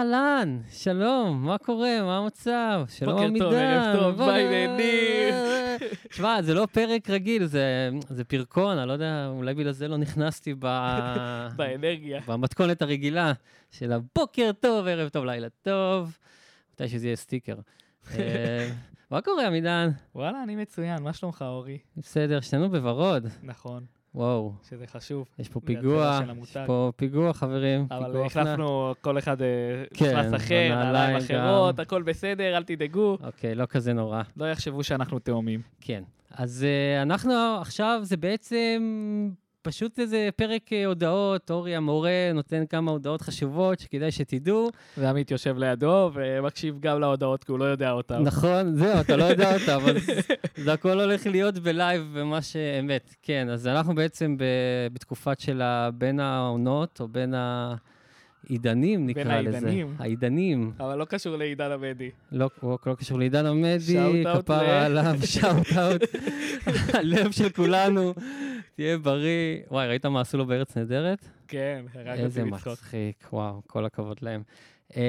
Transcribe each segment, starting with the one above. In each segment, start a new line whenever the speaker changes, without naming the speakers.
אהלן, שלום, מה קורה? מה המצב? שלום
בוקר
עמידן.
טוב, ערב טוב,
בוא
מה
נ-
העניינים?
תשמע, זה לא פרק רגיל, זה, זה פרקון, אני לא יודע, אולי בגלל זה לא נכנסתי ב...
באנרגיה.
במתכונת הרגילה של הבוקר טוב, ערב טוב, לילה טוב, מתי שזה יהיה סטיקר. אה, מה קורה, עמידן?
וואלה, אני מצוין, מה שלומך, אורי?
בסדר, שנינו בוורוד.
נכון,
וואו,
שזה חשוב.
יש פה
זה
פיגוע,
התחילה של
יש
המותג.
פה פיגוע, חברים.
אבל
פיגוע אופנה.
החלפנו, כל אחד אה,
כן,
נכנס אחר,
בנעליים
נעליים
גם.
אחרות, הכל בסדר, אל תדאגו.
אוקיי, לא כזה נורא.
לא יחשבו שאנחנו תאומים.
כן. אז uh, אנחנו עכשיו, זה בעצם פשוט איזה פרק אה, הודעות, אורי המורה נותן כמה הודעות חשובות שכדאי שתדעו.
ועמית יושב לידו ומקשיב גם להודעות, כי הוא לא יודע אותן.
נכון, זהו, אתה לא יודע אותה, אבל זה- זה הכל הולך להיות בלייב במה שאמת. כן, אז אנחנו בעצם ב, בתקופת של ה, בין העונות, או בין העידנים, נקרא
בין
לזה.
העידנים.
העידנים.
אבל לא קשור לעידן עמדי.
לא, הוא לא קשור לעידן עמדי,
Shout out
כפרה
ל-
עליו, שאוט אאוט, הלב של כולנו, תהיה בריא. וואי, ראית מה עשו לו בארץ נהדרת?
כן, הרג אותי
איזה
לצחוק.
מצחיק, וואו, כל הכבוד להם. אמ,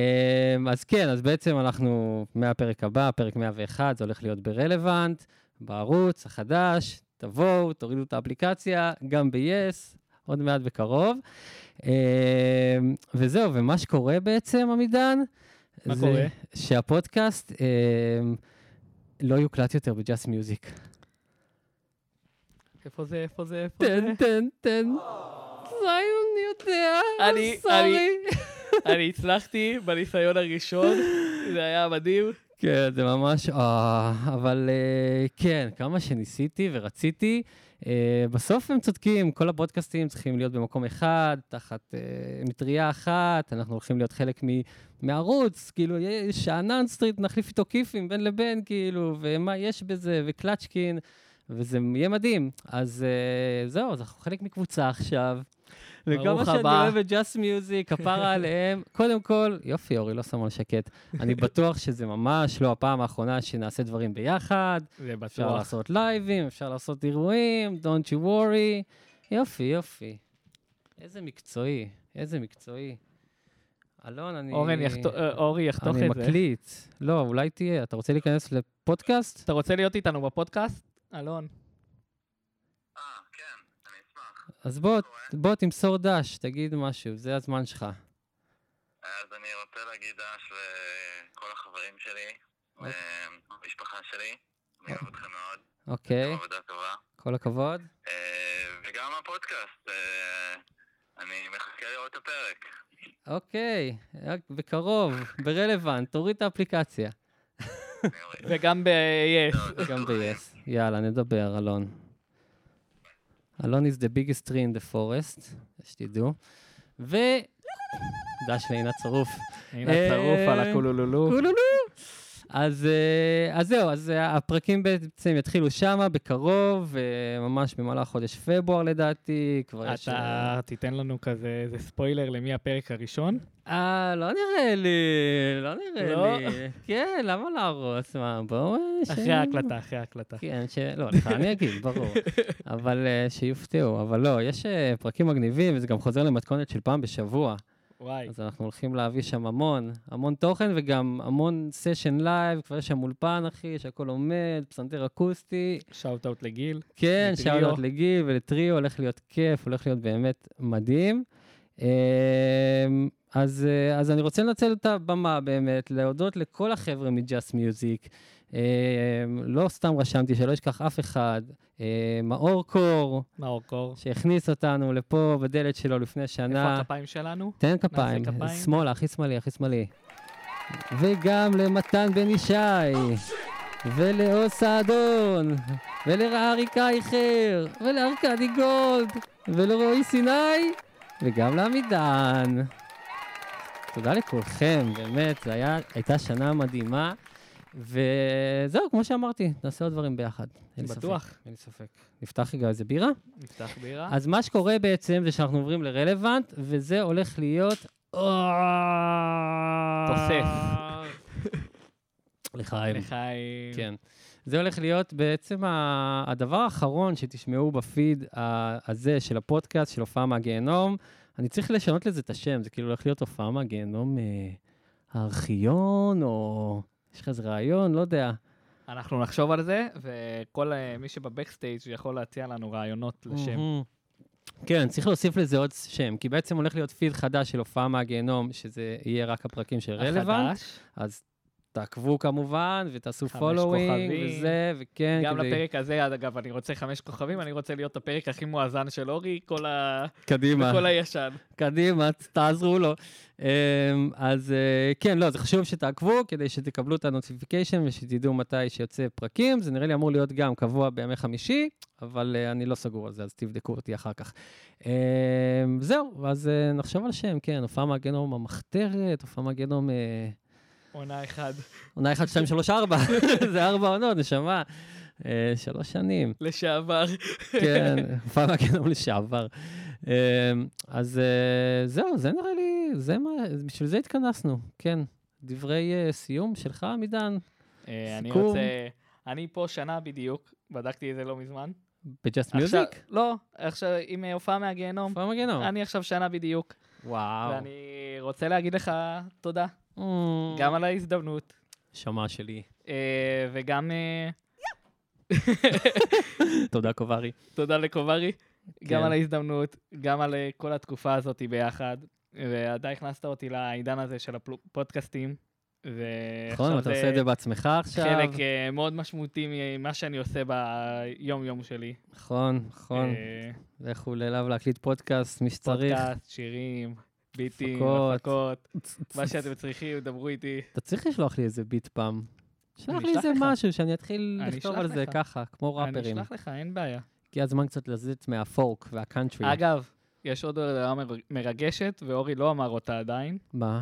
אז כן, אז בעצם אנחנו מהפרק הבא, פרק 101, זה הולך להיות ברלוונט, בערוץ החדש, תבואו, תורידו את האפליקציה, גם ב-yes, עוד מעט בקרוב. אמ, וזהו, ומה שקורה בעצם, עמידן,
מה
זה
קורה?
שהפודקאסט אמ, לא יוקלט יותר בג'אסט מיוזיק.
איפה זה, איפה זה, איפה זה?
טן, טן, טן. זיון, אני יודע,
אה. אני-
I'm sorry.
אני הצלחתי בניסיון הראשון, זה היה מדהים.
כן, זה ממש, אה, אבל אה, כן, כמה שניסיתי ורציתי, אה, בסוף הם צודקים, כל הפודקאסטים צריכים להיות במקום אחד, תחת אה, מטריה אחת, אנחנו הולכים להיות חלק מ, מערוץ, כאילו, יש שאנן סטריט, נחליף איתו כיפים בין לבין, כאילו, ומה יש בזה, וקלצ'קין, וזה יהיה מדהים. אז אה, זהו, אז אנחנו חלק מקבוצה עכשיו. וכמה
ברוך
שאני
הבא.
אוהב את Just Music, כפרה עליהם. קודם כל, יופי, אורי, לא שם על שקט. אני בטוח שזה ממש לא הפעם האחרונה שנעשה דברים ביחד.
זה
אפשר
בטוח.
לעשות לייבים, אפשר לעשות אירועים, Don't you worry. יופי, יופי. איזה מקצועי, איזה מקצועי. אלון, אני...
אורן יחתוך- אה, אורי יחתוך
אני
את זה.
מקליט. לא, אולי תהיה. אתה רוצה להיכנס לפודקאסט?
אתה רוצה להיות איתנו בפודקאסט? אלון.
אז בוא, בוא תמסור דש, תגיד משהו, זה הזמן שלך.
אז אני רוצה להגיד אש לכל החברים שלי,
אוקיי.
למשפחה שלי, אני אוהב אתכם מאוד, אתם
אוקיי,
עבודה טובה,
כל הכבוד.
אה, וגם הפודקאסט, אה, אני מחכה לראות את הפרק.
אוקיי, רק בקרוב, ברלוונט, תוריד את האפליקציה.
אני אוריד.
וגם אה, ב-yes.
גם ב-yes. יאללה, נדבר, אלון. אלון is the biggest tree in the forest, שתדעו. ו... דש לעינת צרוף. אה,
הנה צרוף על הקולולולו.
קולולו. אז, אה, אז זהו, אז אה, הפרקים בעצם יתחילו שמה בקרוב, אה, ממש במהלך חודש פברואר לדעתי, כבר יש... אה,
אתה תיתן לנו כזה איזה ספוילר למי הפרק הראשון?
אה, לא נראה לי, לא נראה
לא?
לי. כן, למה להרוס? מה, בואו... אה, ש-
אחרי ההקלטה, אחרי ההקלטה.
כן, ש... לא, לך אני אגיד, ברור. אבל אה, שיופתעו. אבל לא, יש אה, פרקים מגניבים, וזה גם חוזר למתכונת של פעם בשבוע.
וואי,
אז אנחנו הולכים להביא שם המון, המון תוכן וגם המון סשן לייב, כבר יש שם אולפן, אחי, שהכול עומד, פסנתר אקוסטי.
שאוט אאוט לגיל.
כן,
לטריו.
שאלות לגיל ולטריו, הולך להיות כיף, הולך להיות באמת מדהים. אמ, אז, אה, אז אני רוצה לנצל את הבמה באמת, להודות לכל החבר'ה מג'אסט מיוזיק. לא סתם רשמתי, שלא אשכח אף אחד. אה, מאור קור,
מאור קור.
שהכניס אותנו לפה בדלת שלו לפני
איפה
שנה.
הכפיים שלנו?
תן כפיים,
נעשה כפיים?
שמאלה, הכי שמאלי, הכי שמאלי. וגם למתן בן ישי, ולאו סעדון, ולרערי קייכר, ולארכדי גולד, ולרועי סיני, וגם לעמידן. תודה לכולכם, באמת, זו היה- הייתה שנה מדהימה, וזהו, כמו שאמרתי, נעשה עוד דברים ביחד. אין לי ספק,
בטוח.
אין לי ספק. נפתח רגע איזה בירה?
נפתח בירה.
אז מה שקורה בעצם זה שאנחנו עוברים לרלוונט, וזה הולך להיות...
תוסס.
לחיים.
לחיים.
כן. זה הולך להיות בעצם ה- הדבר האחרון שתשמעו בפיד ה- הזה של הפודקאסט, של הופעה מהגיהנום. אני צריך לשנות לזה את השם, זה כאילו הולך להיות הופעה מהגיהנום אה, הארכיון, או יש לך איזה רעיון, לא יודע.
אנחנו נחשוב על זה, וכל אה, מי שבבקסטייג' יכול להציע לנו רעיונות לשם.
מהמם. כן, צריך להוסיף לזה עוד שם, כי בעצם הולך להיות פיד חדש של הופעה מהגיהנום, שזה יהיה רק הפרקים של רלוונט.
החדש.
אז תעקבו כמובן, ותעשו
חמש
פולווינג,
כוכבים.
וזה, וכן,
גם
כן, כדי-
לפרק הזה, עד אגב, אני רוצה חמש כוכבים, אני רוצה להיות הפרק הכי מואזן של אורי, כל ה-
קדימה,
כל הישן.
קדימה, ת- תעזרו לו. אמ, אז אה, כן, לא, זה חשוב שתעקבו, כדי שתקבלו את הנוטיפיקיישן ושתדעו מתי שיוצא פרקים. זה נראה לי אמור להיות גם קבוע בימי חמישי, אבל אה, אני לא סגור על זה, אז תבדקו אותי אחר כך. אמ, זהו, אז אה, נחשוב על שם, כן, הופעה מהגנום המחתרת, הופעה מהגנום... אה,
עונה אחד.
עונה 1, 2, 3, 4, זה ארבע עונות, נשמה. אה, שלוש שנים.
לשעבר.
כן, פעם הגנום לשעבר. אמ, אז אה, זהו, זה נראה לי, זה מה, בשביל זה התכנסנו, כן. דברי אה, סיום שלך, עמידן,
אה, אני
סיכום.
רוצה... אני פה שנה בדיוק, בדקתי את זה לא מזמן.
ב-Just
עכשיו-
Music?
לא, עכשיו עם אה, הופעה מהגיהנום.
פעם הגנום.
אני עכשיו שנה בדיוק,
וואו.
ואני רוצה להגיד לך תודה,
Mm,
גם על ההזדמנות,
שמע שלי.
אה, וגם אה,
תודה, קוברי.
תודה לקוברי, גם
כן.
על ההזדמנות, גם על אה, כל התקופה הזאת ביחד, ואתה הכנסת אותי לעידן הזה של הפודקאסטים.
נכון, אתה עושה את זה בעצמך עכשיו.
חלק אה, מאוד משמעותי ממה שאני עושה ביום-יום שלי.
נכון, נכון.
אה,
לכו ללאו להקליט פודקאסט, מי שצריך.
פודקאסט, שירים, ביטים,
הפקות.
הפקות, מה שאתם צריכים, דברו איתי.
אתה צריך לשלוח לי איזה ביט פעם. שלח
אני
לי
אשלח
איזה
לך.
משהו, שאני אתחיל
אני
לכתוב
אשלח
על זה
לך.
ככה, כמו
אני
ראפרים.
אשלח לך, אין בעיה.
הגיע הזמן קצת לזית מהפולק והקאנטרי.
אגב, יש עוד הודעה מר- מרגשת, ואורי לא אמר אותה עדיין.
מה?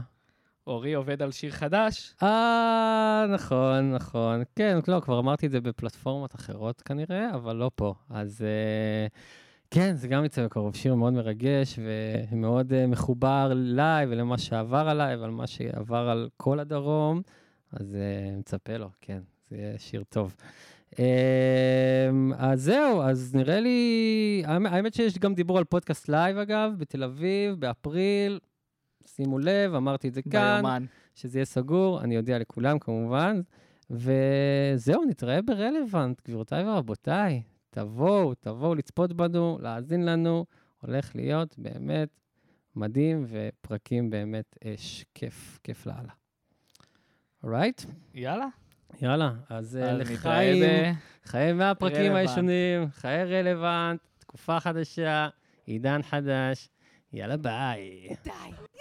אורי עובד על שיר חדש.
אה, נכון, נכון. כן, לא, כבר אמרתי את זה בפלטפורמות אחרות כנראה, אבל לא פה. אז אה, כן, זה גם יצא בקרוב. שיר מאוד מרגש ומאוד אה, מחובר אליי ולמה שעבר עליי ועל מה שעבר על כל הדרום. אז אה, מצפה לו, כן, זה יהיה שיר טוב. אה, אז זהו, אז נראה לי... האמת- האמת שיש גם דיבור על פודקאסט לייב, אגב, בתל אביב, באפריל. שימו לב, אמרתי את זה כאן.
ביומן.
שזה יהיה סגור, אני אודיע לכולם כמובן. וזהו, נתראה ברלוונט, גבירותיי ורבותיי. תבואו, תבואו לצפות בנו, להאזין לנו. הולך להיות באמת מדהים ופרקים באמת אש. כיף, כיף לאללה. אורייט?
יאללה.
יאללה, אז אה,
אז נתראה
לחיים,
ב-
חיי מהפרקים
רלוונט.
הישנים, חיי רלוונט, תקופה חדשה, עידן חדש. יאללה ביי.
די.